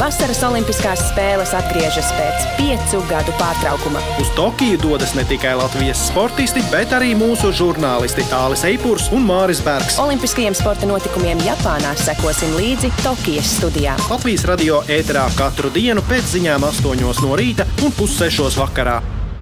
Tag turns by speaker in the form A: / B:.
A: Vasaras Olimpiskās spēles atgriežas pēc piecu gadu pārtraukuma.
B: Uz Tokiju dodas ne tikai Latvijas sportisti, bet arī mūsu žurnālisti Tālis Eipūrs un Māris Bergs.
A: Olimpiskajiem sporta notikumiem Japānā sekosim līdzi Tokijas studijā.
B: Latvijas radio ēterā katru dienu pēc ziņām 8 no rīta un pussešos vakarā.